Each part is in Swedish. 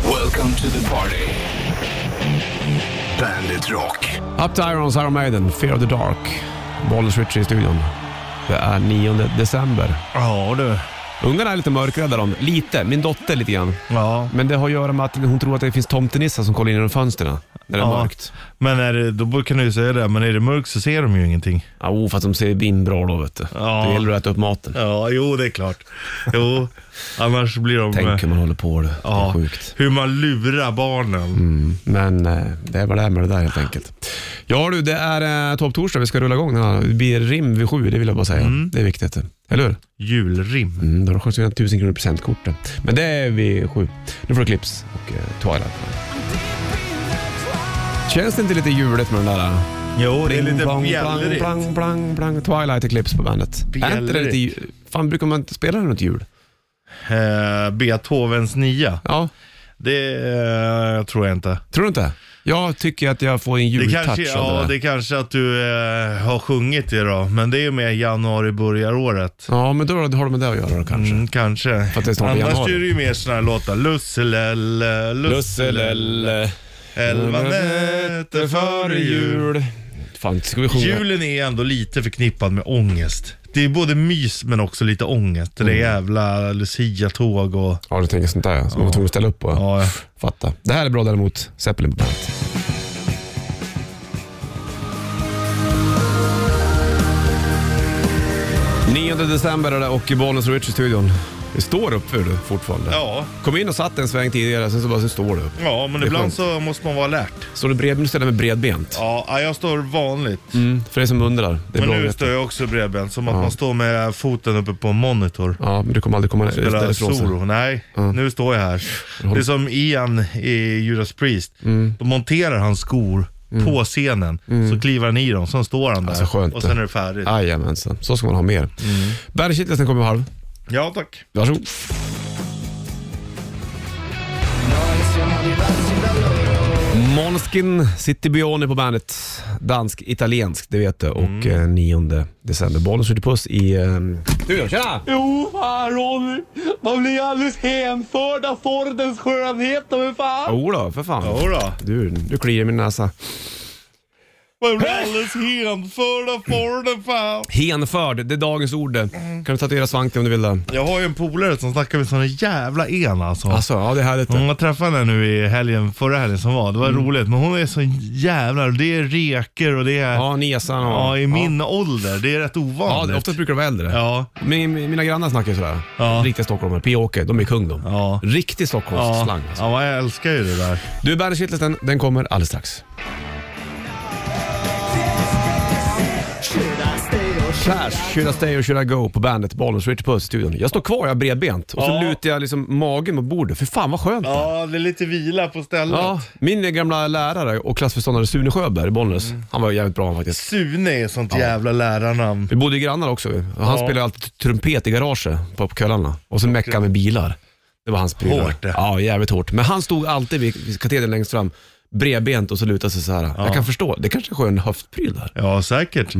Welcome to the party. Bandit Rock. Up to Irons, Iron Maiden, Fear of the Dark. Bollers Richie i studion. Det är 9 december. Ja du. Ungarna är lite mörkrädda de. Lite. Min dotter lite grann. Ja. Men det har att göra med att hon tror att det finns tomtenissar som kollar in genom fönstren när det är ja. mörkt. Men är det, då kan du ju säga det, men är det mörkt så ser de ju ingenting. Ja, oh, fast de ser bin bra då vet du. Ja. Då gäller det att äta upp maten. Ja, jo det är klart. Jo, annars blir de... Tänk hur man håller på du. Det är ja, sjukt. hur man lurar barnen. Mm. Men eh, det är vad det är med det där helt enkelt. Ja du, det är eh, topptorsdag. Vi ska rulla igång den här. Det blir rim vid sju, det vill jag bara säga. Mm. Det är viktigt. Eller hur? Julrim. Mm, då har de skjutit in 1000 kronor i presentkort. Men det är vid sju. Nu får du Clips och eh, Twilight. Känns det inte lite juligt med den där? eh? Jo, det är Pling, lite plong, bjällrigt. Plang, plang, plang, plang. Twilight och Clips på bandet. Är inte det lite Bjällrigt. ju- Fan, brukar man inte spela den runt jul? Eh, Beethovens nia. Ja, Det eh, tror jag inte. tror du inte? Jag tycker att jag får en Det jultouch kanske, av ja, det. det där. kanske att du eh, har sjungit det då, men det är ju med januari börjar året. Ja, men då har det med det att göra då kanske. Mm, kanske. För att det är snart Annars januari. är det ju mer sådana här låtar. Lusselelle, lusselelle, elva nätter före jul. Fan, ska vi sjunga? Julen är ändå lite förknippad med ångest. Det är både mys men också lite ångest. Det är jävla luciatåg och... Ja, du tänker sånt där ja, som man var tvungen att ställa upp på. Ja, ja. Fatta. Det här är bra däremot. Zeppelin på bandet. Nionde december är det och i Bollnäs och Rich i studion. Det står upp för du fortfarande. ja. Kom in och satt en sväng tidigare, sen så bara så står du upp. Ja, men Det är ibland skönt. så måste man vara lärt. Står du bredbent ställer med bredbent? Ja, ja, jag står vanligt. Mm, för dig som undrar. Det är bra Men att nu veta. står jag också bredbent, som att man står med foten uppe på en monitor. Ja, men du kommer aldrig komma Spelar därifrån sen. solo. Nej, nu står jag här. Det är som Ian i Judas Priest. Då monterar han skor på scenen, så kliver han i dem, sen står han där Alltså, skönt. och sen är det färdigt. Jajamensan, så ska man ha mer. Mm. Bergkittelsen kommer halv. Ja tack. Varsågod. Måneskin, City Bione på bandet. Dansk-italiensk, det vet du. Mm. Och eh, 9 december. Bollen skjuter puss i... Eh, studion. Tjena! Jo, fan Ronny. Man blir alldeles hänförd av Fordens skönhet. Men fan. Jo då, för fan. Jodå. Du, du kliar i min näsa. Man blir alldeles hänförd av Forden fan. Henförd, det är dagens ord. Kan du tatuera svanken om du vill det. Jag har ju en polare som snackar med såna jävla en alltså. Alltså, ja det är härligt. Mm, jag träffade henne nu i helgen, förra helgen som var. Det var Mm. roligt. Men hon är så jävlar, det är reker och det är... Ja, Ja, nesan och... i min ålder. Det är rätt Ja, ovanligt. ja oftast brukar det vara äldre. Ja. Min, mina grannar snackar ju sådär. Ja. Riktiga stockholmare. P-Åke, de är kung de. Ja. Riktig Ja. stockholmsslang. Alltså. ja, jag älskar ju det där. Du, Bandet den kommer alldeles strax. Clash, Should I stay or should I go på bandet Bollnäs Richard Puss i studion. Jag står kvar, jag har bredbent och så Ja. lutar jag liksom magen mot bordet. För fan vad skönt. Ja. Ja, det är lite vila på stället. min gamla lärare och klassföreståndare Sune Sjöberg i Bollnäs, han var jävligt bra han faktiskt. Sune är ett sånt jävla lärarnamn. Vi bodde ju grannar också och han Ja. spelade alltid trumpet i garaget på, på kvällarna och så meckade han med bilar. Det var hans prylar. Hårt det. Ja, jävligt hårt. Men han stod alltid vid, vid katedern längst fram, bredbent och så lutade sig så här. Jag kan förstå, det kanske är en skön höftpryl där. Ja, säkert.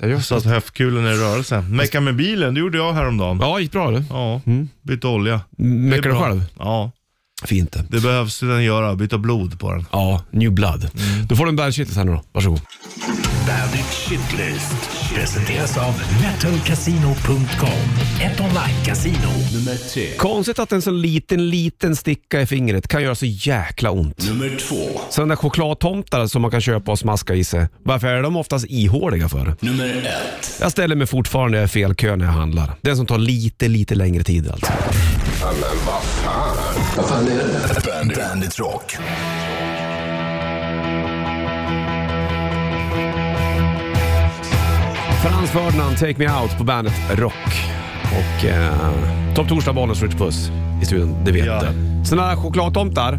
Ja, just Så att höftkulen är i rörelse. Mecka med bilen, det gjorde jag häromdagen. Ja, gick bra du. Ja, bytte olja. Det är Meckar du bra. själv? Ja, Fint det. det behövs den göra. Byta blod på den. Ja, new blood. Då får du en bandshitlis här nu då. Varsågod. Bandit Shitlist. Presenteras av metalcasino.com. Ett online-casino. Nummer tre. Konstigt att en så liten, liten sticka i fingret kan göra så jäkla ont. Nummer två. Sådana där chokladtomtar som man kan köpa och smaska i sig. Varför är de oftast ihåliga för? Nummer ett. Jag ställer mig fortfarande i fel kö när jag handlar. Den som tar lite, lite längre tid alltså. Bandit, Bandit Rock. Frans Ferdinand, Take Me Out på bandet Rock. Och eh, Topp Torsdag, Bollnäs, Rich Puss i studion, det vet Ja. Mm. du. Såna här chokladtomtar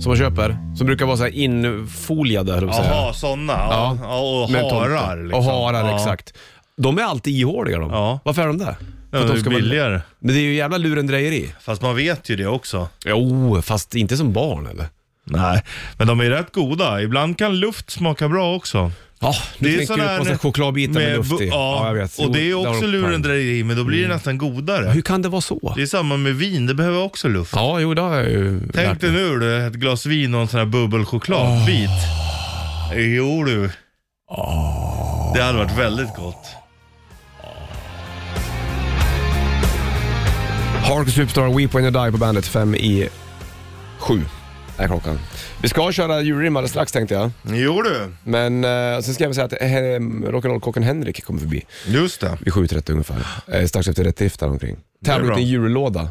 som man köper, som brukar vara så här infoliade, höll jag på att säga. Jaha, såna. Ja. Ja, och Med tomtar. harar. Liksom. Och harar, ja. exakt. De är alltid ihåliga de. Ja. Varför är de det? Ja, det är ju billigare. Men det är ju jävla lurendrejeri. Fast man vet ju det också. Jo, fast inte som barn eller? Nej, men de är rätt goda. Ibland kan luft smaka bra också. Ja, nu Det är tänker sån du här på så här chokladbitar med, luft bu- i. Ja, och det är Jo, också där uppe. lurendrejeri, men då blir det nästan godare. Mm. Hur kan det vara så? Det är samma med vin, det behöver också luft. Ja, jo, det har jag ju Tänk lärt dig mig. nu du, ett glas vin och en sån här bubbelchokladbit. Jo du. Det hade varit väldigt gott. Hark Superstar, Weep When You Die på bandet. Fem i sju är klockan. Vi ska köra julrim alldeles strax tänkte jag. Jo du, Men eh, sen ska jag väl säga att eh, rock'n'roll-kocken Henrik kommer förbi just det. vid 7.30 ungefär. Eh, strax efter rätt drift där omkring. Tävla ut bra. en jullåda.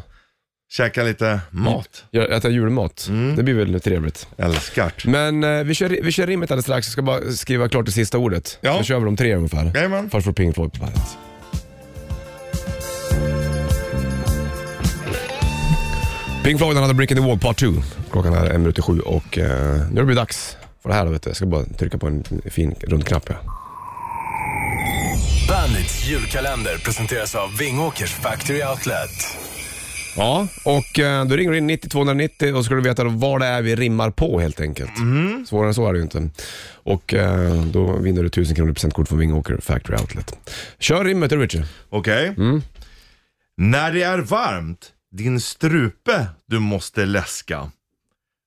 Käka lite mat. Jag äta julmat. Mm. Det blir väl trevligt. Älskart. Men eh, vi, kör, vi kör rimmet alldeles strax. Jag ska bara skriva klart det sista ordet. Ja. Så kör vi de tre ungefär. Jajamän. Först får Pink Floyd på bandet. Pink Floyd han hade Brick in the Wall Part 2. Klockan är en minut i sju och eh, nu blir det dags för det här. Då, vet du. Jag ska bara trycka på en fin rund knapp. Ja. Bandits julkalender presenteras av Vingåkers Factory Outlet. Ja, och eh, då ringer du in 9290 och ska du veta då vad det är vi rimmar på helt enkelt. Svårare än så är det ju inte. Och eh, då vinner du 1000 kronor i presentkort från Vingåker Factory Outlet. Kör rimmet du Richard. Okej. När det är varmt, din strupe du måste läska.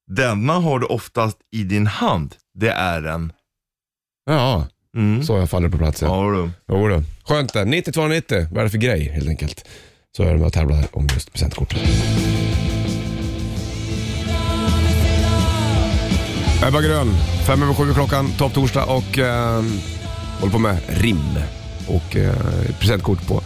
Denna har du oftast i din hand. Det är en. Ja, Mm. så jag faller på plats. Ja. Ja du. Jo då. Skönt det. 9290, vad är det för grej helt enkelt? Så är det med att tävla om just presentkortet. Ebba Grön, fem över sju är klockan, topp torsdag och eh, håller på med rim och eh, presentkort på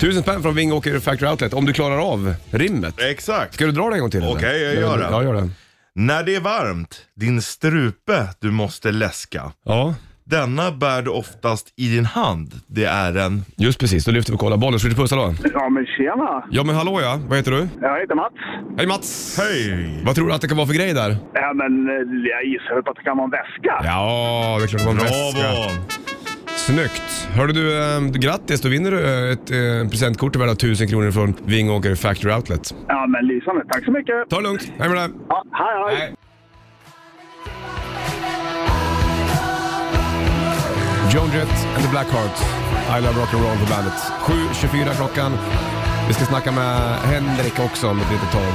tusen spänn från Vingåker Factory Outlet om du klarar av rimmet. Exakt. Ska du dra det en gång till? eller? Okej, jag gör det. Ja, gör det. När det är varmt, din strupe du måste läska. Ja, Denna bär du oftast i din hand. Det är en. just precis. Då lyfter vi och kollar. Bollen, ska vi pussa då? Ja men tjena! Ja, men hallå ja. Vad heter du? Jag heter Mats. Hej Mats! Hej! Vad tror du att det kan vara för grej där? Ja, men eh, jag gissar väl på att det kan vara en väska. Ja, det är klart det var en väska. Bravo! Snyggt. Hörde du, eh, grattis. Då vinner du eh, ett eh, presentkort värda 1000 kronor från Vingåker Factory Outlet. Ja, men lysande. Tack så mycket! Ta det lugnt. Hej med dig. Ja, hej, hej! Hej. Joan Jett and the Blackhearts. I love rock'n'roll på bandet. 7.24 klockan. Vi ska snacka med Henrik också om ett litet tag.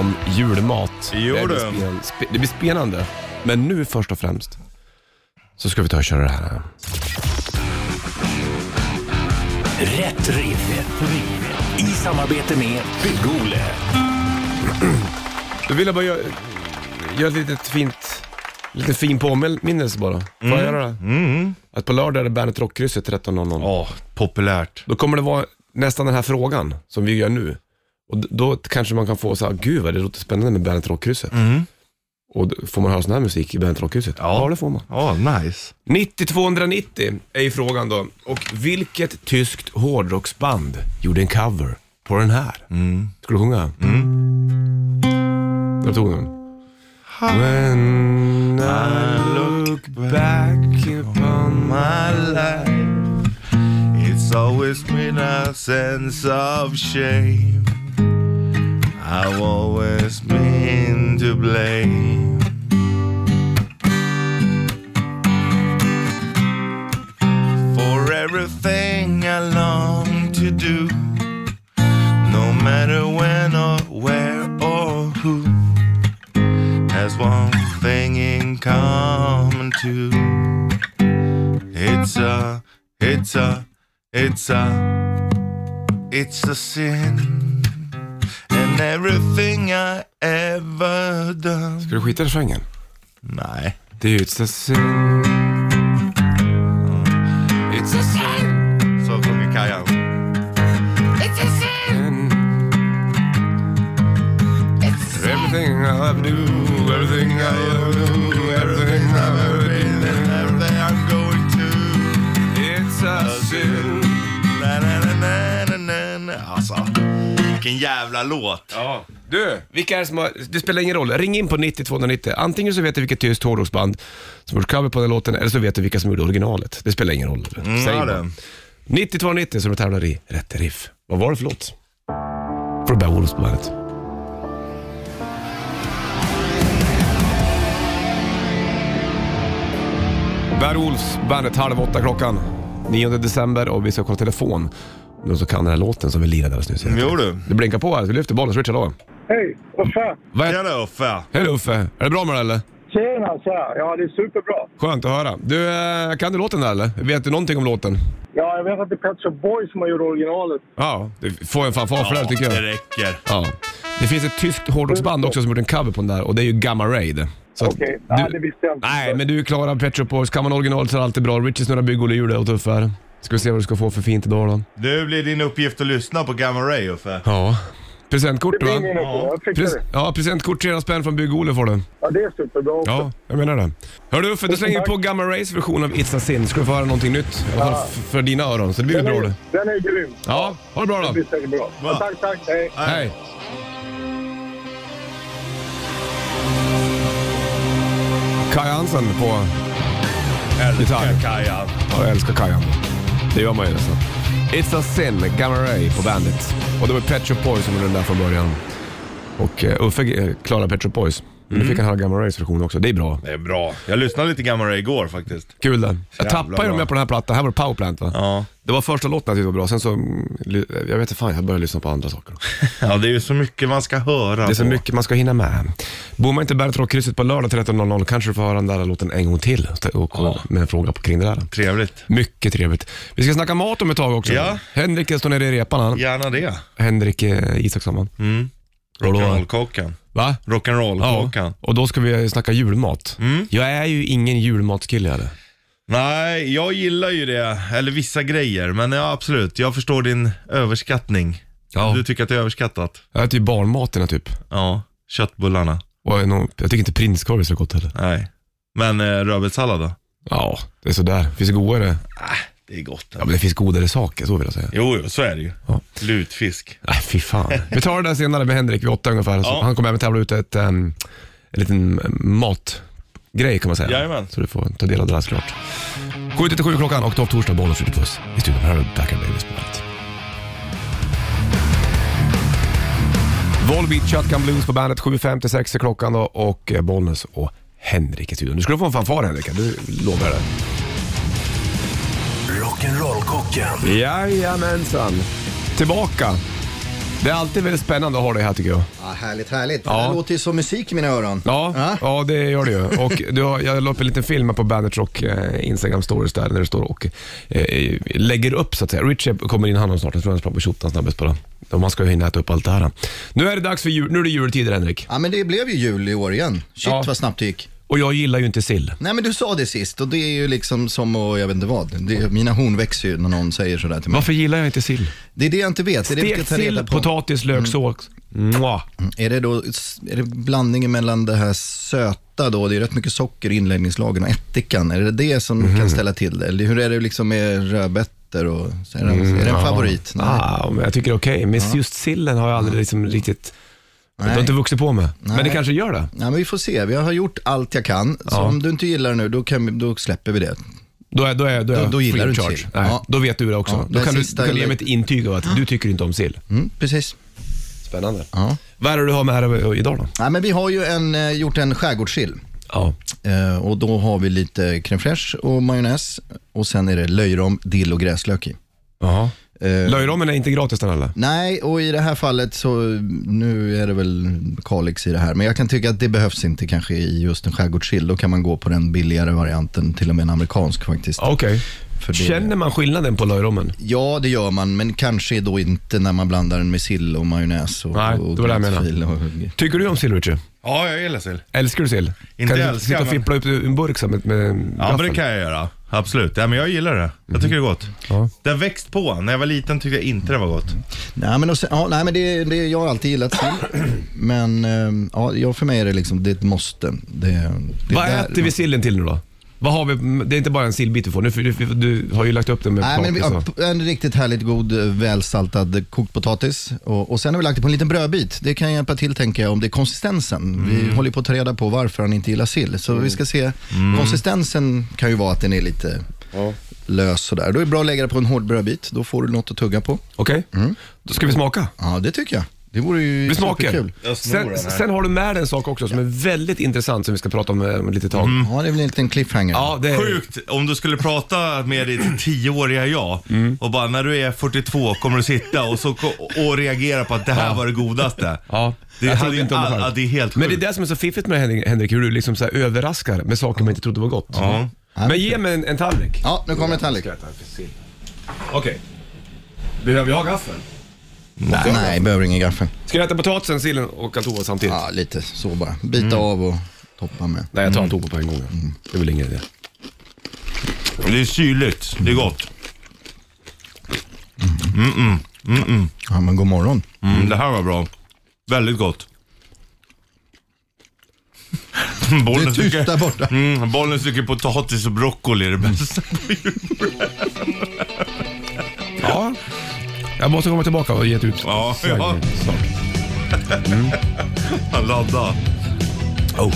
Om julmat. Jo, det, blir du. spen, spe, det blir spännande. Men nu först och främst så ska vi ta och köra det här. Rätt riff. I samarbete med Bygg-Ole. Då vill jag bara göra, göra ett litet fint, lite fin påminnelse bara. Får jag göra det? Att på lördag är det Bandet Rockkrysset 13.00. Ja, populärt. Då kommer det vara nästan den här frågan som vi gör nu. Och d- då kanske man kan få så här, gud vad det låter spännande med Bandet Rockkrysset. Och då får man höra sån här musik i Bandet Rockkrysset? Ja. det får man. Ja, nice. 90-290 är ju frågan då. Och vilket tyskt hårdrocksband gjorde en cover på den här? Ska du sjunga? Mm. Där tog den. When I look back upon my... My life It's always been a sense of shame I've always been to blame For everything I long to do No matter when or where or who Has one thing in common too it's a, it's a, it's a, it's a sin. And everything I ever done. Ska du skita i refrängen? Nej. Det är ju It's a sin. It's a sin. Så sjunger Kajan. Everything I ever do, everything I ever do, everything I've ever been, And everything I'm going to. it's a sin. Na, na, na, na, na, na, na. Alltså, vilken jävla låt. Ja. Du, vilka är det som har, det spelar ingen roll. Ring in på 90-290. Antingen så vet du vilket tyskt hårdrocksband som gjort cover på den låten, eller så vet du vilka som gjorde originalet. Det spelar ingen roll. Säg Mm, ja, bara. det. 90-290 som du tävlar i Rätt Riff. Vad var det för låt? Från Bad Wolves på bandet. Bad Wolfs, bandet halv åtta klockan. 9 december och vi ska kolla telefon. Någon som kan den här låten som vi lirade alldeles nyss. Jo du. Det blinkar på här, vi lyfter bollen. Richard, hallå. Hej, Uffe. Vad är... Tjena Uffe. Hej Uffe, är det bra med det eller? Tjena, tja. Ja, det är superbra. Skönt att höra. Du, eh, kan du låten där eller? Vet du någonting om låten? Ja, jag vet att det är Pet Shop Boys som har gjort originalet. Ja, det får en fanfar för det här, tycker det jag. räcker. Ja. Det finns ett tyskt hårdrocksband också som gjort en cover på den där och det är ju Gamma Raid. Så att Okej, nej, det visste jag inte. Nej, men du klarar Pet Shop Boys. Kan man originalet så är det alltid bra. Richie snurrar byggoljehjulet och tuff här. Ska vi se vad du ska få för fint idag då. Nu blir din uppgift att lyssna på Gamma Ray Uffe. Ja. Presentkort Det va? är ingen idé. Jag fixar Pres- det. ja, presentkort 300 spänn från Bygg-Ole får du. Ja, det är superbra också. Ja, jag menar det. Hör du Uffe, då slänger vi på Gamma Rays version av It's a Sin. Ska du få höra någonting nytt, i alla fall f- för dina öron. Så det blir väl Den bra är, det. den är grym. Ja, ha det bra Det då. blir säkert bra. Ja, tack, tack. Hej. Hej. Kaj Hansen på gitarr. Älskar Kajan. Ja, jag älskar Kajan. Det gör man ju nästan. It's a sin, Gamma Ray på bandet. Och det var Pet Shop Boys som gjorde den där från början. Och eh, Uffe eh, klarade Pet Shop Boys. Men Mm. Nu fick han höra Gamma Rays version också. Det är bra. Det är bra. Jag lyssnade lite Gamma Ray igår faktiskt. Kul det. Jag Jävla tappade ju dem bra. jag på den här plattan. Här var det Powerplant va? Ja. Det var första låten jag tyckte var bra. Sen så, mm, ly- jag vet inte fan, jag började lyssna på andra saker. Ja, det är ju så mycket man ska höra Det är så på. mycket man ska hinna med. Bor man inte Bandet Rockkrysset på lördag 13.00 kanske du får höra den där låten en gång till och, och, med en fråga på, kring det där. Trevligt. Mycket trevligt. Vi ska snacka mat om ett tag också. Ja. Henrik står nere i repan han. Gärna det. Henrik eh, Isaksson va? Mm. Roll on. Rock'n'roll-kocken. Va? Rock'n'roll-kocken. och då ska vi snacka julmat. Jag är ju ingen julmatskille eller? Nej, jag gillar ju det, eller vissa grejer, men ja absolut, jag förstår din överskattning. Ja. Du tycker att det är överskattat? Jag äter ju barnmaterna typ. Ja, köttbullarna. Och jag, jag tycker inte prinskorv är så gott heller. Nej. Men eh, rödbetssallad då? Ah, Ja, det är sådär. Finns det godare? Det är gott. Ja, men det finns godare saker, så vill jag säga. Jo, jo, så är det ju. Ja. Lutfisk. Nej, Äh, fy fan. Vi tar det där senare med Henrik vid åtta ungefär. Så Ja. Han kommer även tävla ut ett, um, en liten eh, matgrej kan man säga. Jajamän. Så du får ta del av det där såklart. 7.37 klockan och topp torsdag, bollen skjuter puss. I studion här har du Backar Babies på bandet. Volbeat Shotgun Blues på bandet 7.56 är klockan då och eh, Bollnäs och Henrik i studion. Du skulle få en fanfar Henrik, du lovar jag det. Rock'n'roll-kocken. Jajamensan. Tillbaka. Det är alltid väldigt spännande att ha dig här tycker jag. Ja, härligt, härligt. Det Ja. där låter ju som musik i mina öron. Ja, Ja. ja det gör det ju. Och du har, jag la upp en liten film här på Bandit Rock eh, Instagram stories där, när du står och eh, lägger upp så att säga. Richie kommer in, han har snart, jag tror han ska på tjottan snabbast bara. Om man ska hinna äta upp allt det här. Nu är det dags för jul, nu är det jultider Henrik. Ja, men det blev ju jul i år igen. Shit Ja. vad snabbt det gick. Och jag gillar ju inte sill. Nej, men du sa det sist och det är ju liksom som att, jag vet inte vad. Det, mina horn växer ju när någon säger sådär till mig. Varför gillar jag inte sill? Det är det jag inte vet. Är det, vi Stekt ska ta reda sill, potatis, löksås. Mwah. är det då är det blandningen mellan det här söta då, det är rätt mycket socker i inläggningslagen och ättikan. Är det det som Mm. kan ställa till det? Eller hur är det liksom med rödbetor och så är det, är det en favorit? Nej. Mm. Ah, men jag tycker det är okej, men just sillen har jag aldrig liksom riktigt, det har Nej. inte vuxit på mig. Men det Nej. kanske gör det. Ja, men vi får se. Jag har gjort allt jag kan. Så om du inte gillar det nu, då, kan, vi- då släpper vi det. Då, är, då, är, då, är Då- då gillar free du inte charge. sill. Nej, Ja. Då vet du det också. Ja, då den kan du, sista du kan ge är- mig ett intyg av att du tycker inte om sill. Mm, precis. Spännande. Ja. Vad är det du har med dig idag då? Nej, men vi har ju en, eh, gjort en skärgårdssill. Ja. Eh, och då har vi lite crème fraîche och majonnäs. Och sen är det löjrom, dill och gräslök i. Jaha. Eh, Löjrommen är inte gratis den eller? Nej, och i det här fallet så, nu är det väl Kalix i det här, men jag kan tycka att det behövs inte kanske i just en skärgårdssill. Då kan man gå på den billigare varianten, till och med en amerikansk faktiskt. Okej. För det- Känner man skillnaden på löjrommen? Ja, det gör man, men kanske då inte när man blandar den med sill och majonnäs och, Nej, och det var det jag menade. gräddfil och- Tycker du om sill Richie? Ja, jag gillar sill. Älskar du sill? Inte kan du älskar, sitta och men- fippla upp en burk som ett med Ja, men gaffel? Mm. det kan jag göra. Absolut. Ja, men jag gillar det. Jag tycker det är gott. Ja. Det har växt på. När jag var liten tyckte jag inte det var gott. Nej, men, och sen, ja, nej, men det, det, jag har alltid gillat sill. Men eh, ja, ja, för mig är det liksom, det är ett måste. Det, det Vad är där- äter vi sillen till nu då? Vad har vi? Det är inte bara en sillbit du får. Nu, du, du har ju lagt upp den med Nej, men vi, potatis och- ja, en riktigt härligt god eh, välsaltad kokt potatis. Och, och sen har vi lagt det på en liten brödbit. Det kan hjälpa till tänker jag om det är konsistensen. Mm. Vi håller ju på att ta reda på varför han inte gillar sill. Så vi ska se. Mm. Konsistensen kan ju vara att den är lite lös sådär. Då är det bra att lägga det på en hård brödbit. Då får du något att tugga på. Okej. Då ska vi smaka. Ja, det tycker jag. Mm. Det vore ju Vi smakar. superkul. Jag snor Sen, den här. sen har du med dig en sak också som är väldigt intressant som vi ska prata om eh, om ett litet tag. Ja, det är väl en liten cliffhanger. Ja, det är... Sjukt om du skulle prata med ditt tioåriga jag och bara när du är 42 kommer du sitta och, så, ko- och reagera på att det här var det godaste. Ja, Det jag hade trodde ju inte om det all- själv. ja, det är helt Men det är sjukt. det som är så fiffigt med Henrik, Henrik hur du liksom så här överraskar med saker man inte trodde var gott. Mm. Ja. Men ge mig en, en tallrik. Ja, nu kommer en tallrik. Okej. Behöver jag gaffel? Nej, nej, behöver ingen gaffel. Ska jag äta potatisen, sillen och allt samtidigt? Ja, lite så bara. Bita av och toppa med. Nej, jag tar alltihopa på en gång. Det är väl ingen idé. Det är syrligt, det är gott. Ja, men god morgon. Mm, det här var bra. Väldigt gott. Det är Bollnäs tyst där tycker, borta. mm, Bollnäs tycker potatis och broccoli är det bästa. Ja. Jag måste komma tillbaka och ge ett ut. Ja, ja. Snart. Ladda. Oh.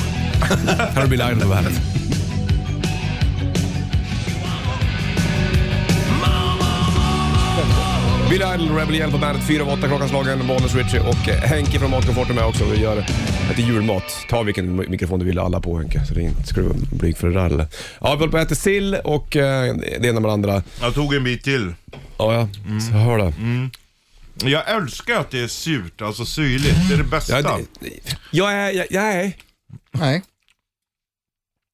Här har Bill Idol på bandet. Bill Idol, Rebel Yell på bandet. Fyra av åtta klockan slagen. Bonus Richie och eh, Henke från Matkomfort är med också. Vi gör lite julmat. Ta vilken mi- mikrofon du vill alla på Henke. Så det är inte, ska du vara blyg för det där eller? Ja, vi håller på att äta sill och eh, det ena med det andra. Jag tog en bit till. Ja, ja. Så jag hör det. Jag älskar att det är surt, alltså syrligt. Det är det bästa. Ja, det, jag är... Jag, jag är... Nej.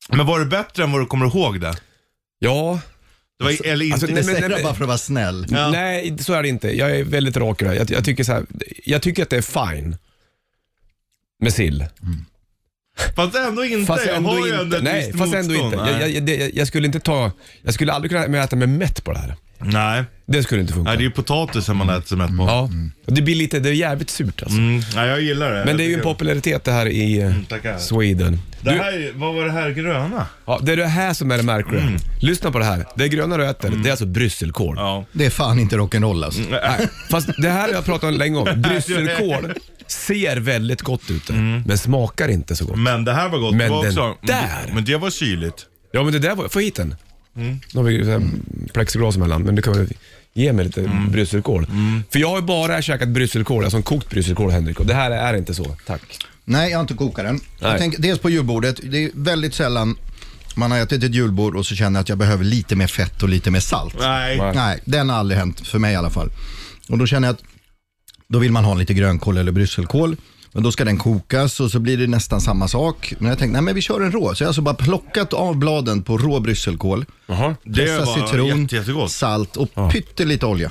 Men var det bättre än vad du kommer ihåg det? Ja. det var, eller inte? alltså, Det nej, men- säger jag bara för att vara snäll. Ja. Nej, så är det inte. Jag är väldigt rak i det här. jag, jag tycker så här, Jag tycker att det är fine med sill. Fast ändå inte. Fast jag Mm. har ändå ju ändå inte. ett Nej, visst fast ändå motstånd. inte. Nej. Jag, jag, det- jag, jag skulle inte ta... Jag skulle aldrig kunna äta mig mätt på det här. Nej. Det skulle inte funka. Nej, det är ju potatisen man äter som mätt på. Ja. Det blir lite... Det är jävligt surt alltså. Mm. Nej, jag gillar det. Men Jag det är ju en tycker- popularitet det här i eh, tackar. Sweden. Det Du, här, vad var det här gröna? ja, det är det här som är det märkliga. Mm. Lyssna på det här. Det gröna du äter, det är alltså brysselkål. Ja. Det är fan inte rock'n'roll alltså. Nej, fast det här har jag pratat om länge om. Brysselkål ser väldigt gott ut, men smakar inte så gott. Men det här var gott. Men det var den också, där. Men det var syrligt. Ja, men det där var... Få hit den. Nu har vi så här plexiglas emellan, men du kan väl ge mig lite brysselkål. För jag har ju bara käkat brysselkål, alltså en kokt brysselkål, Henrik, och det här är inte så. Tack. Nej, jag har inte kokat den. Nej. Jag tänker dels på julbordet. Det är väldigt sällan man har ätit ett julbord och så känner jag att jag behöver lite mer fett och lite mer salt. Nej. Nej. Nej, den har aldrig hänt för mig i alla fall. Och då känner jag att då vill man ha lite grönkål eller brysselkål. Men då ska den kokas och så blir det nästan samma sak. Men jag tänkte, nej men vi kör en rå. Så jag har alltså bara plockat av bladen på rå brysselkål. Det pressad var citron, jätte, jättegott. salt och pyttelite olja.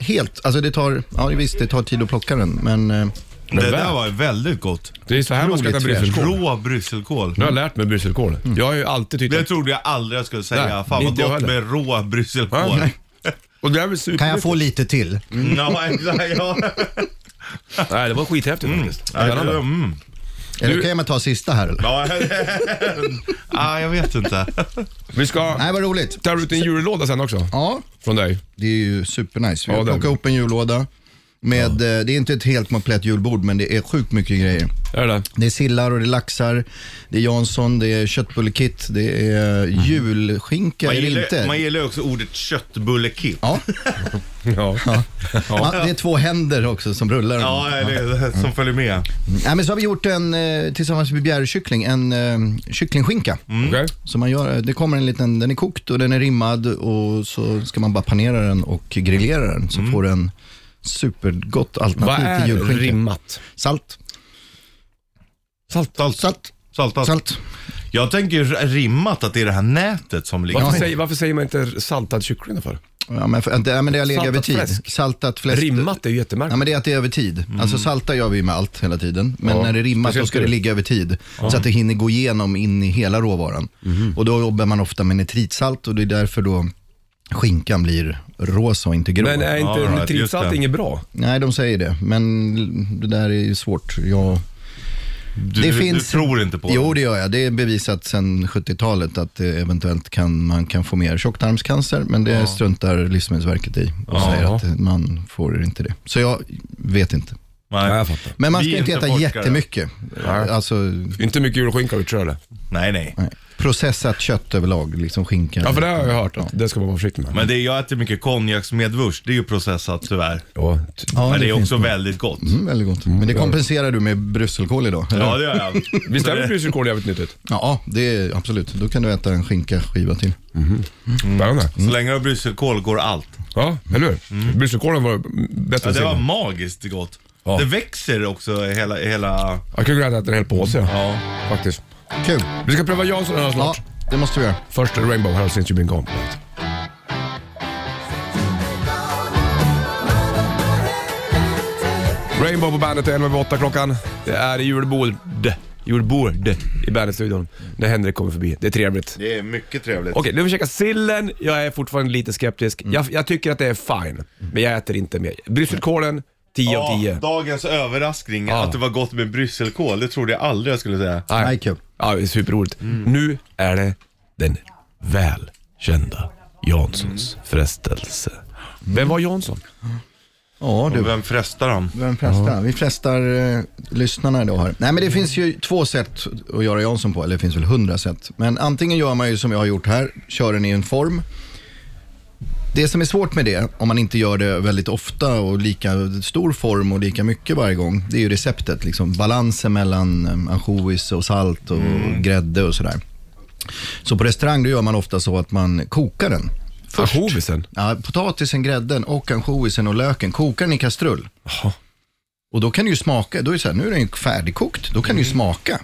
Helt, alltså det tar, ja visst det tar tid att plocka den, men eh, Det väl. där var väldigt gott. Det är så här man ska äta Roligt Mm. brysselkål. Rå brysselkål. Nu har jag lärt mig brysselkål. Jag har ju alltid tyckt Det att... trodde jag aldrig jag skulle säga. Nej, Fan vad inte jag gott heller. med rå brysselkål. Mm, Ja, Och det där är väl super... kan jag få lite till? Ja, exakt. Ja. Nej, det var skithäftigt faktiskt. Nej, det- Spännande. mm. Eller kan jag ta sista här eller? Ja, ah, jag vet inte. Vi ska... Nej vad roligt. Tar ut en jullåda sen också, Ja, från dig. det är ju supernice. Vi Ja, har det är plockat det. ihop en jullåda. Med, eh, Det är inte ett helt komplett julbord, men det är sjukt mycket grejer. Är det det? Det är sillar och det är laxar, det är Jansson, det är köttbullekit, det är Mm. julskinka, Man är det gillar, inte? man gillar ju också ordet köttbullekipp. Ja. Ja. Ja, Mm. det är två händer också som rullar. Ja, det är det som följer med. Nej, men så har vi gjort en, eh, tillsammans med bjärrkyckling, en eh, kycklingskinka. Okej. Så man gör, eh, det kommer en liten, den är kokt och den är rimmad och så ska man bara panera den och grillera den så får du en supergott Mm. Vad alternativ till är julskinka. rimmat? Salt. Salt. Salt. Salt. Saltat. Salt. Jag tänker ju rimmat att det är det här nätet som ligger. Varför, Ja. säger, varför säger man inte saltad kyckling då för? Ja, men, för, det, ja, men det har legat över Saltat tid. fläsk. Saltat fläsk. Rimmat är ju jättemärkligt. Ja, men det är att det är över tid. Alltså salta gör vi ju med allt hela tiden. Men Ja, när det rimmas då speciellt ska det det. ligga över tid. Så att det hinner gå igenom in i hela råvaran. Och då jobbar man ofta med nitritsalt och det är därför då skinkan blir rosa och inte grå. Men eh, är inte All right, just nitritsalt det. inget bra? Nej, de säger det. Men det där är ju svårt. Jag... Du, Det du, finns- du tror inte på det? Jo, det gör jag. Det är bevisat sedan 70-talet att det eventuellt kan, man kan få mer tjocktarmscancer, men det struntar Livsmedelsverket i och säger att man får inte det. Så jag vet inte. Nej. fattar. Men man Vi ska är inte inte äta forskare. jättemycket. Alltså, Inte mycket julskinka vi tror jag det. Nej, nej. Nej. Processat kött överlag, liksom skinka. Ja, för det har jag hört. Att det ska man vara försiktig med. Men det jag äter mycket konjaksmedvurs, det är ju processat tyvärr. Ja, t- Ja, Men det är finns också det. väldigt gott. Mm, väldigt gott. Men det kompenserar du med brysselkål idag? eller? Ja, det gör jag. Visst är det brysselkål jävligt nyttigt? ja, det är absolut. Då kan du äta en skinkaskiva till. Spännande. Så länge du har brysselkål går allt. Ja, eller hur? Brysselkålen var bättre än Ja, det var sillen. magiskt gott. Ja. Det växer också hela... hela... Jag kunde ha ätit en hel påse. Ja. Faktiskt. Kul. Vi ska pröva Jansson här Ja, snart. det måste vi göra. Först Rainbow House Since You've Been Gone. Rainbow på bandet är 11 över 8 klockan. Det är julbord. Julbord i bandetstudion. När Henrik kommer förbi. Det är trevligt. Det är mycket trevligt. Okej, nu har vi käkat sillen. Jag är fortfarande lite skeptisk. Jag, jag tycker att det är fine, men jag äter inte mer. Brysselkålen, 10 av 10. dagens överraskning, Ja. att det var gott med brysselkål, det trodde jag aldrig jag skulle säga. Nej, kul. Ja, det är superroligt. Nu är det den välkända Janssons frestelse. Vem var Jansson? Ja, du. Vem frestar dem? Vem frestar? Vi frestar eh, lyssnarna idag här. Nej men det finns ju två sätt att göra Jansson på, eller det finns väl hundra sätt. Men antingen gör man ju som jag har gjort här, kör den i en form. Det som är svårt med det, om man inte gör det väldigt ofta och lika stor form och lika mycket varje gång, det är ju receptet. Liksom balansen mellan eh, ansjovis och salt och grädde och sådär. Så på restaurang då gör man ofta så att man kokar den. Ah, Först. Ansjovisen? Ja, potatisen, grädden och ansjovisen och löken kokar den i kastrull. Och då kan du ju smaka, då är det så här, nu är den ju färdigkokt, då kan Mm. du ju smaka.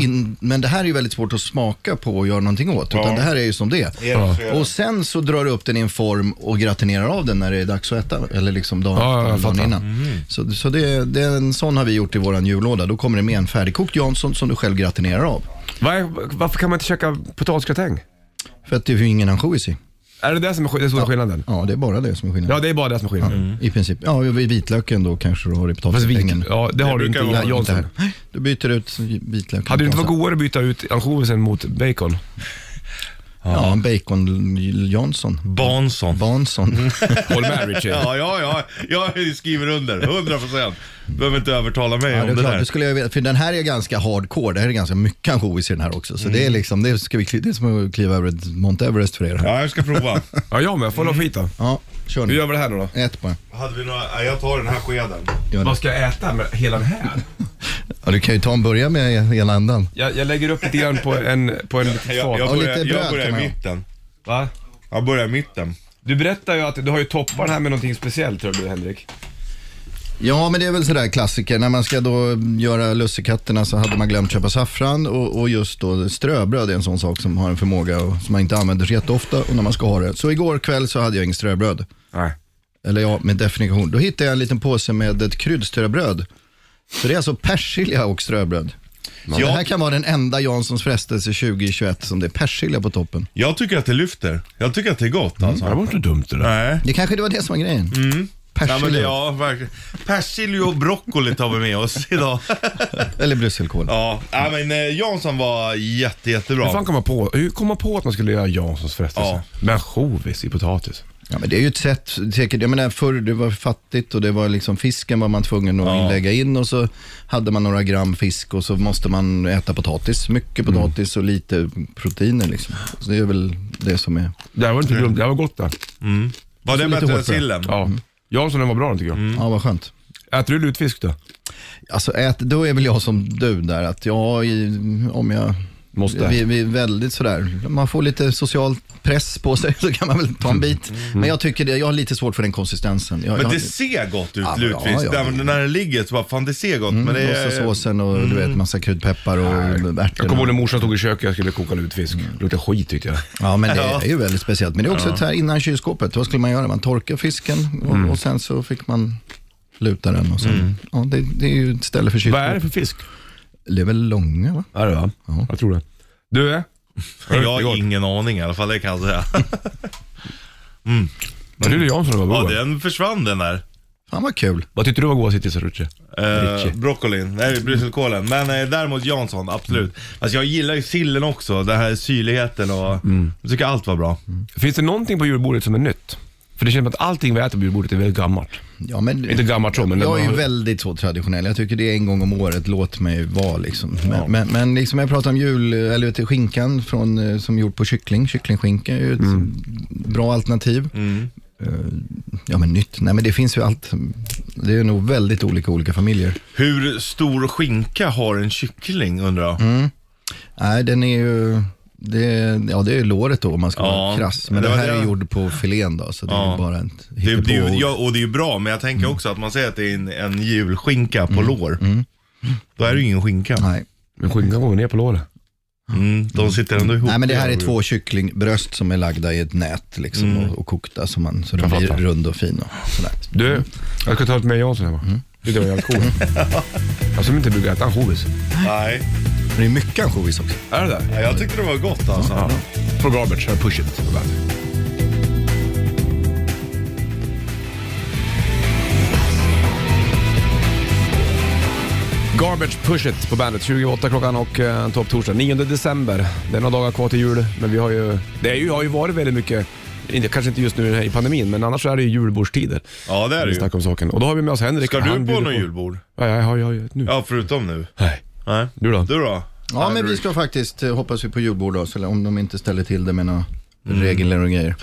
In, men det här är ju väldigt svårt att smaka på och göra någonting åt, utan det här är ju som det är. Och sen så drar du upp den i en form och gratinerar av den när det är dags att äta, eller liksom dagen, Ja, ja, jag dagen fattar. Mm. innan. Så, så det, det är en sån har vi gjort i våran jullåda, då kommer det med en färdigkokt Jansson som du själv gratinerar av. Var, varför kan man inte käka potatisgratäng? För att det är ju ingen ansjovis i. Är det det som är sk- den stora skillnaden? Ja, det är bara det som är skillnaden. Ja, det är bara det som är skillnaden. I princip. Ja, i vitlöken då kanske du har i Mm. Fast vit, potatisdängen. ja, det har Det du inte brukar vara i lite Jansson. Nej, Du byter ut vitlöken. Hade det inte varit Jansson. godare att byta ut ansjovisen mot bacon? Ja, en bacon Jansson. Bansson. Bansson. Mm. Håll med Richie. Ja, ja, ja. Jag skriver under. 100 procent. Behöver inte övertala mig Ja, det om är det klart, där. det skulle jag, vilja- för den här är ganska hardcore. Det här är ganska mycket ansjovis i den här också. Så det Mm. är liksom, det, ska vi, kli- det är som att kliva över ett Mount Everest för er. Ja, jag ska prova. Ja, jag med. Får jag skit då? Ja, kör Hur nu. gör vi det här nu då? Ät bara. Hade vi några... ja, Jag tar den här skeden. Gör det. Vad ska jag äta med hela den här? Ja, du kan ju ta en början med hela ändan. Jag Jag, jag lägger upp lite grann på en, på en liten Jag, jag Och fat. börjar, lite jag bröd börjar kan man i ha. mitten. Va? Jag börjar i mitten. Du berättar ju att du har ju toppat den här med någonting speciellt tror du Henrik. Ja, men det är väl sådär klassiker. När man ska då göra lussekatterna så hade man glömt köpa saffran och, och just då ströbröd är en sån sak som har en förmåga och, som man inte använder så jätteofta och när man ska ha det. Så igår kväll så hade jag inget ströbröd. Nej. Eller ja, med definition. Då hittade jag en liten påse med ett kryddströbröd. Så det är alltså persilja och ströbröd. Så det här kan vara den enda Janssons frestelse 2021 som det är persilja på toppen. Jag tycker att det lyfter. Jag tycker att det är gott Mm, alltså. Det var inte dumt det där. Nej. Det kanske det var det som var grejen. Mm. Ja, men det, Persilja ja, verkligen. Persilja och broccoli tar vi med oss idag. eller brysselkål. Ja, ja men eh, Jansson var jätte, jättebra. Hur fan kom man på, hur kom man på att man skulle göra Janssons frestelse? Ja. Med ansjovis i potatis. Ja, men det är ju ett sätt, säkert, jag menar förr det var fattigt och det var liksom fisken var man tvungen att lägga in och så hade man några gram fisk och så måste man äta potatis, mycket Mm. potatis och lite proteiner liksom. Så det är väl det som är. Det här var inte dumt, det här var gott det. Var det bättre lite än hårt bröd. sillen? Ja. Jansson den var bra den tycker jag. Ja, vad skönt. Äter du lutfisk då? Alltså ät, då är väl jag som du där att jag, i- om jag Måste. Vi, vi är väldigt sådär, man får lite social press på sig så kan man väl ta Mm. en bit. Men jag tycker det, jag har lite svårt för den konsistensen. Jag, Men jag, det ser gott ut Ja, men- lutfisk. ja, ja. Där, när det ligger så bara, fan det ser gott men det och så är... såsen och du vet massa kryddpeppar och ärtor. Mm. Jag kommer ihåg när morsan stod i köket och jag skulle koka lutfisk. Luktade skit tyckte jag. Ja, men det Ja. är ju väldigt speciellt. Men det är också ett så här innan kylskåpet. Vad skulle man göra? Man torkar fisken och, Mm. och sen så fick man luta den. Och sen, ja, det, det är ju ett ställe för Vad är det kylskåp. för fisk? Det är väl långa va? Är det va? Ja. Jag tror det. Du? eh? Jag har ingen aning i alla fall, det kan jag säga. Vad tyckte du Jansson var Ja, god? den försvann den där. Fan vad kul. Vad tyckte du var goda citrusrutcher? Eh, Ritchie. broccolin, nej brysselkålen. Men eh, däremot Jansson, absolut. Alltså jag gillar ju sillen också, den här syrligheten och jag tycker allt var bra. Finns det någonting på julbordet som är nytt? För det känns som att allting vi äter på julbordet är väldigt gammalt. Ja, men, Inte gammaltro, men... jag är ju väldigt så traditionell. Jag tycker det är en gång om året, låt mig vara liksom. Men, men, men liksom jag pratar om jul, eller vet du, skinkan från, eh, som är gjord på kyckling. Kycklingskinka är ju ett Mm. bra alternativ. Eh, Ja men nytt, nej men det finns ju allt. Det är nog väldigt olika olika familjer. Hur stor skinka har en kyckling undrar jag? Nej den är ju, det, är- ja det är ju låret då om man ska Ja, vara krass. Men det det, var här det jag- är gjord på filén då, så det är Ja. ju bara ett Det, det är ju, hittepå- Mm. ja, och det är ju bra, men jag tänker också att man säger att det är en, en julskinka på lår. Då är det ju ingen skinka. Nej. Men skinkan går ner på låret. Mm, de sitter ändå ihop. Nej, men det här är två kycklingbröst som är lagda i ett nät liksom, Mm. och, och kokta så, man, så de Jag blir fattar. rund och fin. Och sådär. Du, jag ska ta ett med Jansson hemma. Det var jävligt coolt. Jag som inte brukar äta ansjovis. Nej, Det är mycket ansjovis också. Är det där? Ja, jag tyckte det var gott alltså. Från Robert, kör push it. på bandet. Garbage Push It på bandet, 28 klockan och eh, topp torsdag 9 december. Det är några dagar kvar till jul, men vi har ju, det är ju, har ju varit väldigt mycket, inte, kanske inte just nu i pandemin, men annars så är det ju julbordstider. Ja, det är det Vi ju. snackar om saken. Och då har vi med oss Henrik. Ska Han du på bjuder något julbord? Ja, jag har ju nu. Ja, förutom nu. Nej. Nej. Du då? Du då? Ja, men vi ska faktiskt, eh, hoppas vi, på julbord då, så om de inte ställer till det med några Mm. regler och grejer.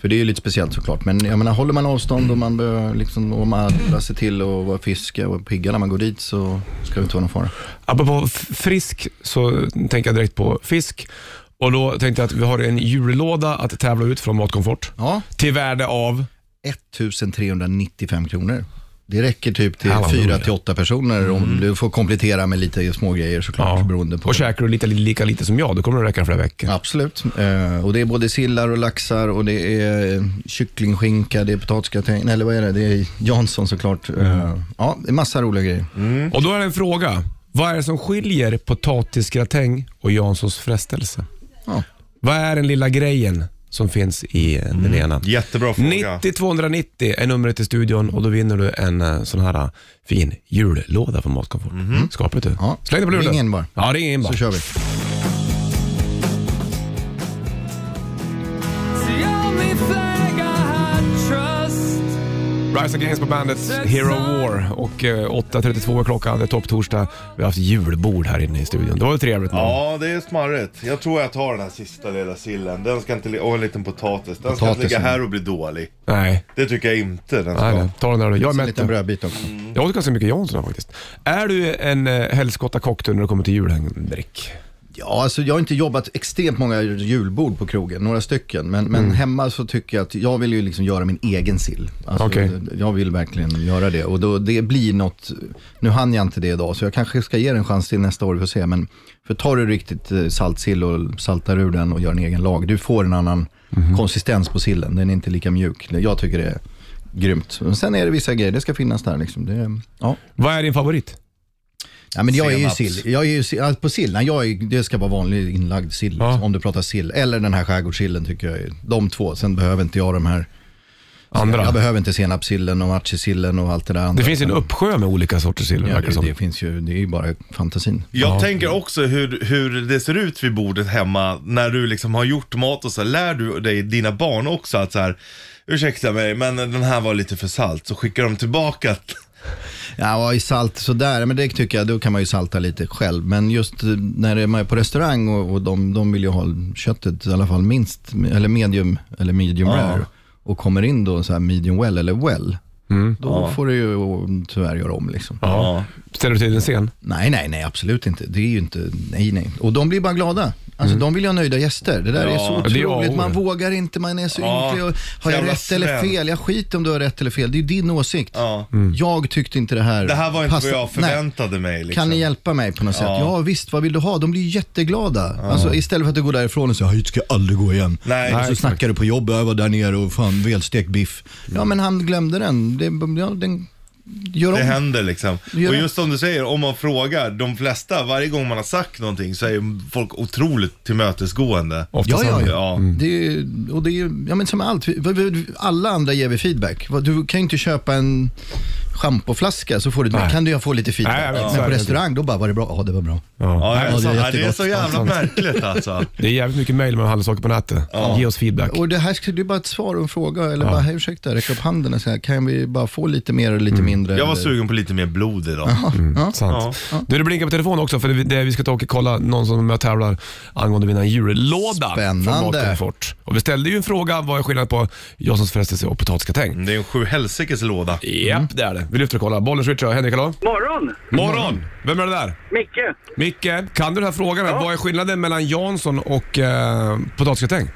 För det är ju lite speciellt såklart, men jag menar, håller man avstånd och man behöver liksom, och man alla ser till att vara friska och pigga när man går dit så ska det inte vara någon fara. Apropå f- frisk så tänker jag direkt på fisk. Och då tänkte jag att vi har en jullåda att tävla ut från Matkomfort. Ja, Till värde av... 1395 kronor. Det räcker typ till Halleluja. fyra till åtta personer om du får komplettera med lite smågrejer såklart beroende på. Och käkar du lika, lika lite som jag, då kommer det räcka flera veckor. Absolut. Eh, och det är både sillar och laxar och det är eh, kycklingskinka, det är potatisgratäng, nej, eller vad är det? Det är Jansson såklart. Eh, ja, det är massa roliga grejer. Och då är det en fråga. Vad är det som skiljer potatisgratäng och Janssons frestelse? Ja. Vad är den lilla grejen som finns i eh, Mm. den ena? Jättebra fråga. 90 290 är numret till studion och då vinner du en eh, sån här eh, fin jullåda från Matkomfort. Skapligt du. Mhm. Ja. Släng dig på luren. Ring in bara. Ja, ring in bara. Så kör vi. Rise Against på bandet Hero War och eh, 8.32 är klockan. Det är topptorsdag. Vi har haft julbord här inne i studion. Det var ju trevligt. man. Ja, det är smarrigt. Jag tror jag tar den här sista lilla sillen. Den ska inte ligga... Och en liten potatis. Den ska inte Potatisen. ligga här och bli dålig. Nej, Det tycker jag inte den ska. nej, nej. Ta den där du. Jag är En mätt liten nu. brödbit också. Jag åt ganska mycket Jansson här faktiskt. Är du en eh, helskottakock du när det kommer till jul, Henrik? Ja, alltså jag har inte jobbat extremt många julbord på krogen, några stycken. Men, men hemma så tycker jag att jag vill ju liksom göra min egen sill. Alltså, Okej. Jag vill verkligen göra det. Och då, det blir något, nu hann jag inte det idag, så jag kanske ska ge det en chans till nästa år för att se. Men för tar du riktigt eh, saltsill och saltar ur den och gör en egen lag, du får en annan konsistens på sillen. Den är inte lika mjuk. Jag tycker det är grymt. Men sen är det vissa grejer, det ska finnas där liksom. Det, ja. Vad är din favorit? Ja, men jag är ju Senaps. sill. Jag är ju, sill- alltså på sill, nej, jag är, det ska vara vanlig inlagd sill. liksom, Ja. Om du pratar sill. Eller den här skärgårdssillen tycker jag är. De två. Sen behöver inte jag de här. Jag Andra? behöver inte senapssillen och artisillen och allt det där andra. Det finns ju en uppsjö med olika sorters sill, ja, verkar det det, det som. finns ju, det är ju bara fantasin. Jag tänker också hur, hur det ser ut vid bordet hemma när du liksom har gjort mat och så lär du dig, dina barn också att så här, ursäkta mig men den här var lite för salt, så skickar de tillbaka. att- Ja, och i salt sådär, men det tycker jag, då kan man ju salta lite själv. Men just eh, när det- man är på restaurang och, och de, de vill ju ha köttet i alla fall minst, eller medium, eller medium Ja. rare. Och kommer in då så här medium well eller well. Mm. Då får du ju eh, tyvärr göra om liksom. Ja. Ställer du till en scen? Nej, nej, nej, absolut inte. Det är ju inte, nej, nej. Och de blir bara glada. Alltså de vill ju ha nöjda gäster. Det där är så Mm. Ja, det är A otroligt. och Man O. vågar inte, man är så Ja, ynklig. Och, har jag jävla rätt eller slem. fel? Jag skiter om du har rätt eller fel. Det är ju din åsikt. Ja. Jag tyckte inte det här Det här var inte passade- vad jag Nej. förväntade mig. Liksom. Kan ni hjälpa mig på något sätt? Ja. Ja. visst, vad vill du ha? De blir ju jätteglada. Alltså, istället för att du går därifrån och säger, hit ska jag aldrig gå igen. Nej. och Nej, så snackar du på jobbet, jag var där nere och fan välstekt biff. Mm. Ja, men han glömde den. Det, ja, den gör om. Det händer liksom. Gör Och det. just som du säger, om man frågar, de flesta, varje gång man har sagt någonting så är ju folk otroligt tillmötesgående. Oftast Ja, ja, andra. Ja. Det är, ju- och det är ju, ja men som allt, vi- vi- vi- alla andra ger vi feedback. Vad- Du kan ju inte köpa en schampoflaska så får du, Nej. kan du ju få lite feedback. Nej, jag vet, så Men är på det. restaurang, då bara, var det bra? Ja, det var bra. Ja, det, är Ja, så, det är ja, det är så jättegott. jävla märkligt alltså. Det är jävligt mycket mejl med handelssaker på nätet. Ge oss feedback. Och det här ska- det är bara ett svar och en fråga, eller bara, hej ursäkta, räck upp handen och säga, kan vi bara få lite mer och lite Mm. mindre? Jag var eller- sugen på lite mer blod idag. Sant. Du, det blinkar på telefonen också för det, det, vi ska ta och kolla någon som är med och tävlar angående vinna en jullåda från Spännande. Mathem Fort. Och vi ställde ju en fråga, vad är skillnaden på Janssons frestelse och potatisgratäng? Mm, Det är en sju helsikes låda. Japp, Mm. det är det. Vi lyfter och kollar. Bollens Richard, Henrik, hallå? Morgon! Morgon! Vem är det där? Micke! Micke, kan du den här frågan? Vad är skillnaden mellan Jansson och eh, potatisgratäng? Eh,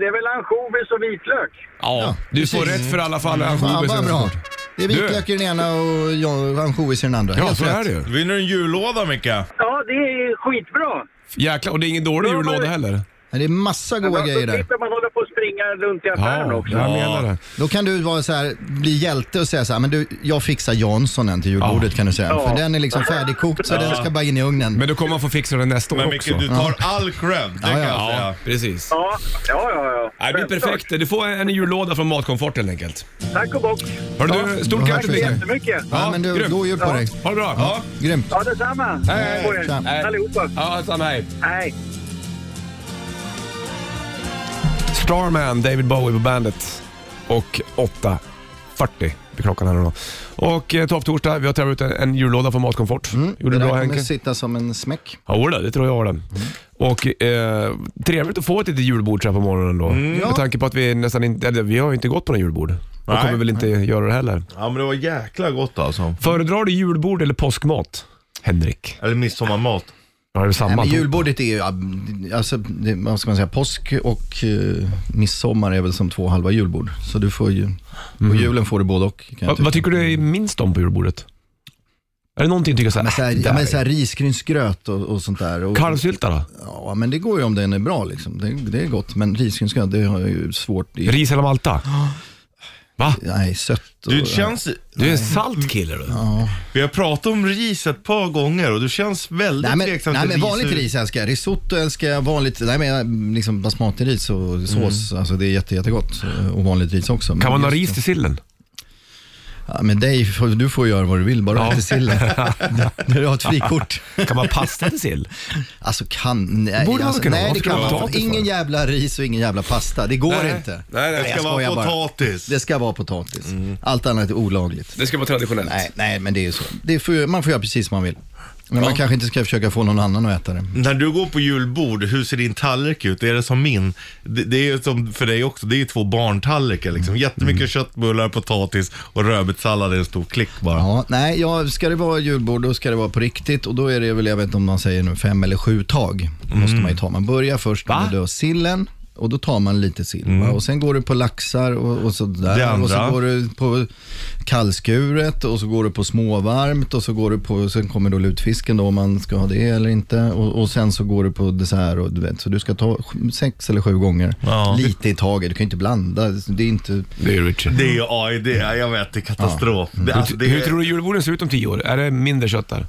det är väl ansjovis och vitlök? Ja, du får precis. rätt för alla fall. Fan Ansjovis är Mm. vad det bra. såklart. Det är Du. vitlök i den ena och ja, ansjovis i den andra. Ja, Helt så är rätt. det ju. Vinner du en jullåda Micke? Ja, det är skitbra! Jäklar, och det är ingen dålig Ja, men- jullåda heller. Men Det är massa goda Då grejer där. slipper man hålla på och springa runt i affären Ja, också. jag menar det. Då kan du vara så här, bli hjälte och säga så här, men du, jag fixar Janssonen till julbordet kan du säga. För den är liksom färdigkokt så den ska bara in i ugnen. Men då kommer man få fixa den nästa år Men Micke, också. du alltså, tar all cred. Det kan jag Ja, säga. precis. Ja, ja, ja. ja. Nej, det blir perfekt. Du får en jullåda från Matkomfort helt enkelt. Tack och bock! Hörru Ja, du, stort då grattis hörs vi. till dig. Jättemycket! ja, ja, men du, grymt. då är ju på dig. Ha det bra. Ja, Grymt. Ja, detsamma! Hej. På er. Tja. Allihopa! ja samma hej. Hej! Starman, David Bowie på bandet. Och 8.40 blir klockan här nu då. Och eh, topptorsdag, vi har tävlat ut en, en jullåda från Matkomfort. Gjorde det du bra där kommer Henke? sitta som en smäck. Ja, det, det tror jag det. Och eh, trevligt att få ett litet julbord så här på morgonen då. Med tanke på att vi nästan inte, eller, vi har ju inte gått på något julbord. Och Nej. kommer väl inte göra det heller. Ja men det var jäkla gott alltså. Föredrar du julbord eller påskmat? Henrik. Eller midsommarmat. Ja, det är Nej, samma. men julbordet är ju, ja, alltså, det, vad ska man säga, påsk och eh, midsommar är väl som två halva julbord. Så du får ju, på julen får du både och. Kan jag Va, tycka. Mm. vad tycker du är minst om på julbordet? Är det någonting du tycker såhär, Men så här, "Ah, det ja, där men är- så här risgrynsgröt och, och sånt där. Och, Kalvsylta då? ja, men det går ju om den är bra liksom. Det, det är gott. Men risgrynsgröt, det har jag ju svårt i. Ris eller malta? Va? Nej, sött. Och, Du känns... Du är en salt kille du. Vi har pratat om ris ett par gånger och du känns väldigt Nej men, tveksam nej, till men vanligt hur- ris älskar jag. Risotto älskar jag. Vanligt, nej men liksom basmatiris och sås. Alltså det är jätte, jättegott. Eh, Och vanligt ris också. Men Mm. Kan man ha just- ris till sillen? Ja, men dig, får- du får göra vad du vill, bara inte sillen. När du har ett frikort. Kan man ha pasta till sill? Alltså kan, nej. Borde man alltså, kunna ha? nej det Varför kan ska man man ha inte. potatis Ingen för? jävla ris och ingen jävla pasta. Det går Nej. inte. Nej, nej, Jag Det ska vara skojar bara. potatis. Det ska vara potatis. Allt annat är olagligt. Mm. Det ska vara traditionellt. Nej, nej men det är ju så. Det får, ju- man får göra precis som man vill. Men man kanske inte ska försöka få någon annan att äta det. När du går på julbord, hur ser din tallrik ut? Är det som min? Det, det är ju som för dig också, det är ju två barntallrikar liksom. Mm. Jättemycket köttbullar, potatis och rödbetssallad i en stor klick bara. Ja, nej, ja, ska det vara julbord då ska det vara på riktigt och då är det väl, jag vet inte om man säger nu, fem eller sju tag. Måste Mm. man ju ta. Man börjar först Va? med då sillen och då tar man lite sill. va? Och sen går du på laxar och, och Mm. Det sådär. andra. Och så går du på kallskuret och så går du på småvarmt och så går du på, sen kommer då lutfisken då om man ska ha det eller inte. Och, och sen så går du på dessert och du vet, så du ska ta sj- sex eller sju gånger. Ja. Lite i taget, du kan ju inte blanda. Det är inte... Det är Richard. Det är ju AI, det är, jag vet, det är katastrof. Mm. Det, alltså, det, Hur är- tror du julborden ser ut om tio år? Är det mindre kött där?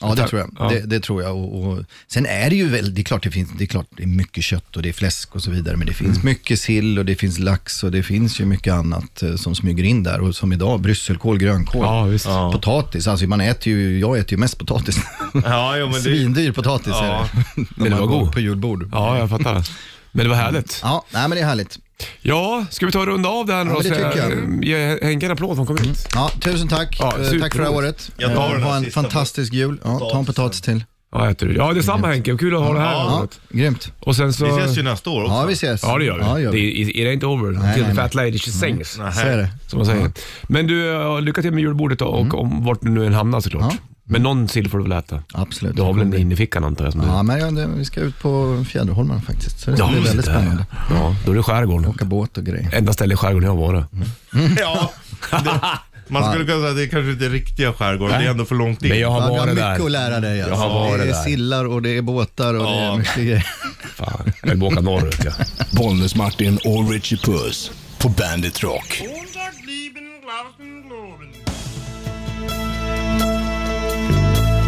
Ja, det tror jag. Ja. Det, det tror jag. Och, och, sen är det ju väl, det är klart det finns, det är klart det är mycket kött och det är fläsk och så vidare, men det finns Mm. mycket sill och det finns lax och det finns ju mycket annat eh, som smyger in där. Och som idag, brysselkål, grönkål, Ja, visst. potatis. Alltså man äter ju, jag äter ju mest potatis. Ja, jo, men det, Svindyr potatis är Ja. det. Men När det man var går god. På julbord. Ja. Ja, jag fattar. Men det var härligt. nej men det är härligt. Ja, ska vi ta och runda av det här nu Ja, då? men det Så, tycker jag. Mm. eh, Ge Henke en applåd, hon kom hit. Ja, tusen tack. Ja, eh, tack för det här superroligt. året. Jag tar Eh, den här ha en sista fantastisk jul. Ja, ta en potatis till. Ja, äter du. Ja, det är samma Henke. Kul att ha det här Mm. Ja, året. grymt. Och sen så... vi ses ju nästa år också. Ja, vi ses. Ja, det gör vi. Ja, Det är, är det inte over until nej, Mm. the nej. fat lady she sings, Så är det. som man säger. Men du, eh, lycka till med julbordet då, och om, vart du nu än hamnar såklart. Mm. Ja. Men någon sill får du väl äta? Absolut. Du har väl en innefickan antar jag? Som Ja, men ja, det, vi ska ut på Fjäderholmen faktiskt. Så det du... blir just väldigt det. spännande. Ja, då är det skärgården. Åka båt och grejer. Enda stället i skärgården jag har varit. Mm. Ja, det, man skulle kunna säga att det är kanske inte är riktiga skärgården, det är ändå för långt in. Men jag Ja, har du har varit mycket där. att lära dig. Alltså. Jag har varit det är där. sillar och det är båtar och det Ja. är mycket grejer. Fan, jag vill åka norrut ja. Bollnäs-Martin och Richie Puss på Bandit Rock.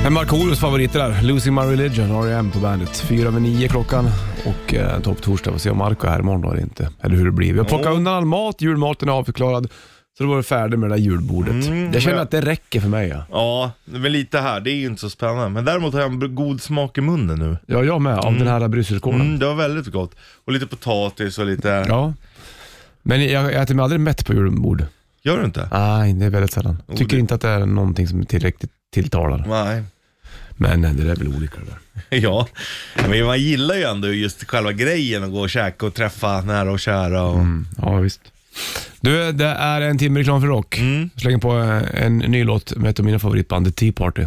Men Markoolios favorit där, Losing My Religion, R.E.M. på bandet. Fyra över nio klockan och eh, topp torsdag. Får se om Marco är här imorgon då eller inte. Eller hur det blir. Vi har plockat undan all mat, julmaten är avförklarad. Så då var du färdig med det där julbordet. Mm, jag känner men- att det räcker för mig. Ja, Ja, men lite här. Det är ju inte så spännande. Men däremot har jag en b- god smak i munnen nu. ja jag med, av den här brysselkålen. Mm, det var väldigt gott. Och lite potatis och lite... Ja. Men jag, jag äter mig aldrig mätt på julbord. Gör du inte? Nej, det är väldigt sällan. Tycker det- inte att det är någonting som tillräckligt tilltalar. Nej. Men nej, det där är väl olika det där. Ja, men man gillar ju ändå just själva grejen att gå och käka och träffa nära och kära. Mm. Och... Ja, visst. Du, det är en timme reklam för rock. Jag slänger på eh, en ny låt med ett av mina favoritband, The Tea Party.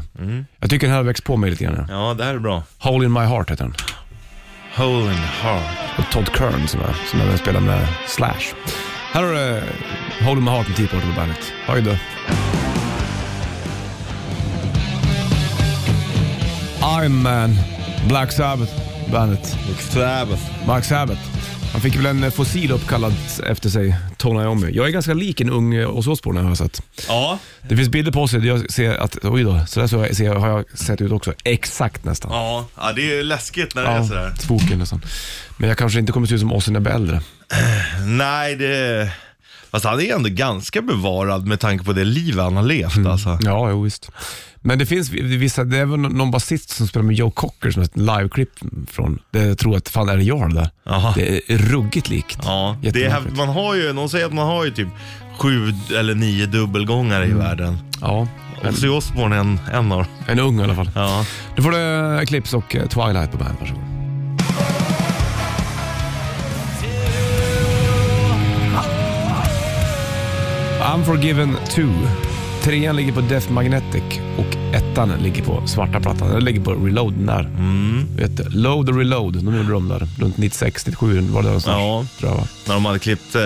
Jag tycker den här har växt på mig lite grann. ja. Ja, det här är bra. Hole in My Heart heter den. Hole in heart. Och Todd Kern som är, som även spelar med Slash. Här har du eh, Hole in My Heart med Tea Party på bandet. Hej då. Iron Man, Black Sabbath, bandet. Sabbath. Mark Sabbath. Han fick väl en eh, fossil uppkallad efter sig, Tony Iommi. Jag är ganska lik en ung eh, Ozzy Osbourne har jag sett. Ja, Det finns bilder på sig där jag ser att, oj då, så där så jag, ser, har jag sett ut också. Exakt nästan. ja, ja, det är ju läskigt när det är sådär. Svoken nästan. Men jag kanske inte kommer se ut som Ozzy när jag blir äldre. Nej, det... Fast han är ändå ganska bevarad med tanke på det liv han har levt Mm. alltså. Ja, jo, visst. Men det finns vissa, det är väl någon basist som spelar med Joe Cocker som är ett liveklipp från, det jag tror att fan är det jag det där? Jaha. Det är ruggigt likt. Ja, det är, Jättemärkligt. man har ju, någon säger att man har ju typ sju eller nio dubbelgångare i världen. Mm. Ja, en, Ozzy Osbourne är en, en av dem. en ung i alla fall. Ja. Nu får du Eclipse och eh, Twilight på bandet, varsågod. Unforgiven 2. Trean ligger på Death Magnetic och ettan ligger på svarta plattan. Den ligger på Reload där. Mm, Vet du, Load och Reload, de gjorde de där runt 96, 97 var det där någonstans, Ja. tror jag va? När de hade klippt eh,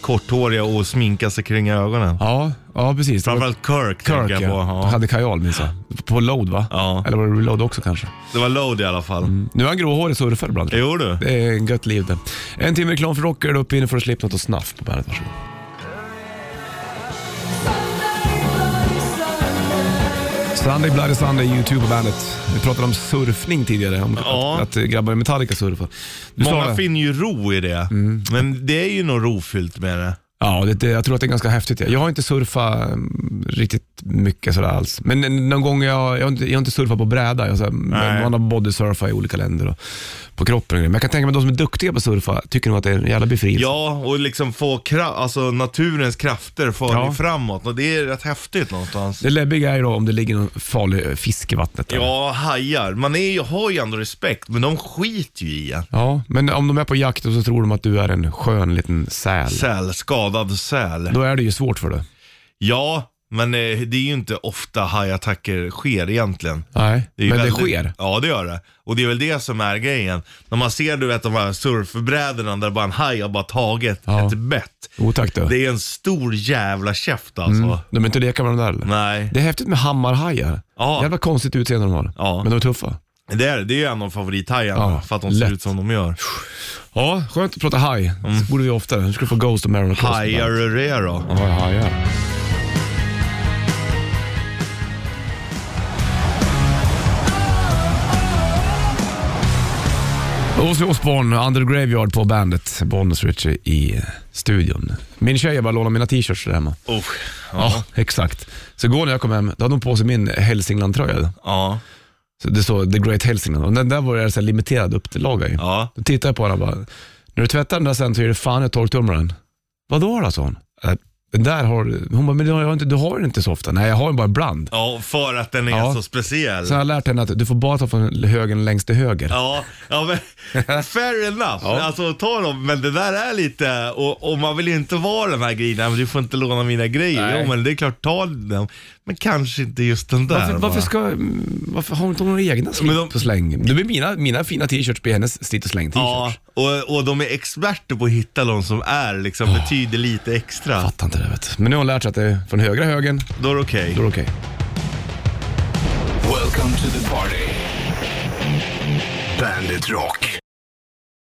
korthåriga och sminkat sig kring ögonen. Ja, ja precis. Det var Framförallt Kirk, Kirk tänker jag ja. på. Ja. Hade kajal minns jag. På Load va? Ja. Eller var det Reload också kanske? Det var Load i alla fall. Nu är han gråhårig surfare ibland. tror jag. Jo du. Det är en gött liv det. En timme reklam för rocker, då upp inne för att slippa något och snaff på bandet. Varsågod. Sunday, Bloody Sunday, YouTube på bandet. Vi pratade om surfning tidigare, om Ja. att, att grabbar i Metallica surfar. Du sa Många det. Mm. finner ju ro i det. Men det är ju något rofyllt med det. Ja, det, det, jag tror att det är ganska häftigt. ja. Jag har inte surfat mm, riktigt mycket sådär alls. Men en- någon gång, jag, jag, har, inte, jag har inte surfat på bräda. Jag, så här, men man har bodysurfat i olika länder och på kroppen och grejer. Men jag kan tänka mig att de som är duktiga på att surfa tycker nog att det är en jävla befrielse. Ja, och liksom få kra- alltså, naturens krafter för Ja. ja. framåt. Och det är rätt häftigt någonstans. Det läbbiga är ju då om det ligger någon farlig fisk i vattnet. där. Ja, hajar. Man är ju, har ju ändå respekt, men de skiter ju i en. ja. Men om de är på jakt och så tror de att du är en skön liten säl. Säl, skadad säl. Då är det ju svårt för dig. Ja, men eh, det är ju inte ofta hajattacker sker egentligen. Nej, är ju men väldigt- det sker. Ja, det gör det. Och det är väl det som är grejen. När man ser du vet, de här surfbrädorna där bara en haj har bara tagit Ja. ett bett. Jo tack du. Det är en stor jävla käft alltså. De är inte leka med de där eller? Nej. Det är häftigt med hammarhajar. Ja. Jävla konstigt utseende de har. Ja. Men de är tuffa. Det är, det är ju en av favorithajarna Ja, för att de lätt. ser ut som de gör. Ja, skönt att prata haj. Det borde vi oftare. Nu ska du få Ghost och Maron och Cross. Mm. Hajar är det då. Ja, hajar. Ozzy Osbourne, Under the Graveyard på bandet. Bonus Richie i studion. Min tjej har bara lånat mina t-shirts där hemma. Oh, Ja, ja. exakt. Så igår när jag kom hem, då hade hon på sig min Hälsingland-tröja. Ja. Så det står The Great Hälsingland och den där var det så här limiterad upplaga ju. Ja. Då tittade jag på den och bara, när du tvättar den där sen så är det fan ett torktumlaren. Vadå då, sa hon. "Äh, Den där har du, hon bara, men du har, jag har inte, du har den inte så ofta. Nej, jag har den bara ibland. ja, för att den är Ja. så speciell. Så jag har lärt henne att du får bara ta från högen längst till höger. Ja, ja men fair enough. Alltså ta dem, men det där är lite, och, och man vill ju inte vara den här grejen, "Nej, men du får inte låna mina grejer. Nej. Jo men det är klart, ta dem. Men kanske inte just den där. Varför, bara. varför, ska, mm, varför har hon inte några egna slit Men de- och släng? Du, mina, mina fina t-shirts blir hennes slit och släng t-shirts. Ja, och, och de är experter på att hitta de som är liksom, betyder lite extra. Fattar inte det vet du. Men nu har hon lärt sig att det är från högra högen, Då är det okej. då är det okej. Welcome to the party. Bandit Rock.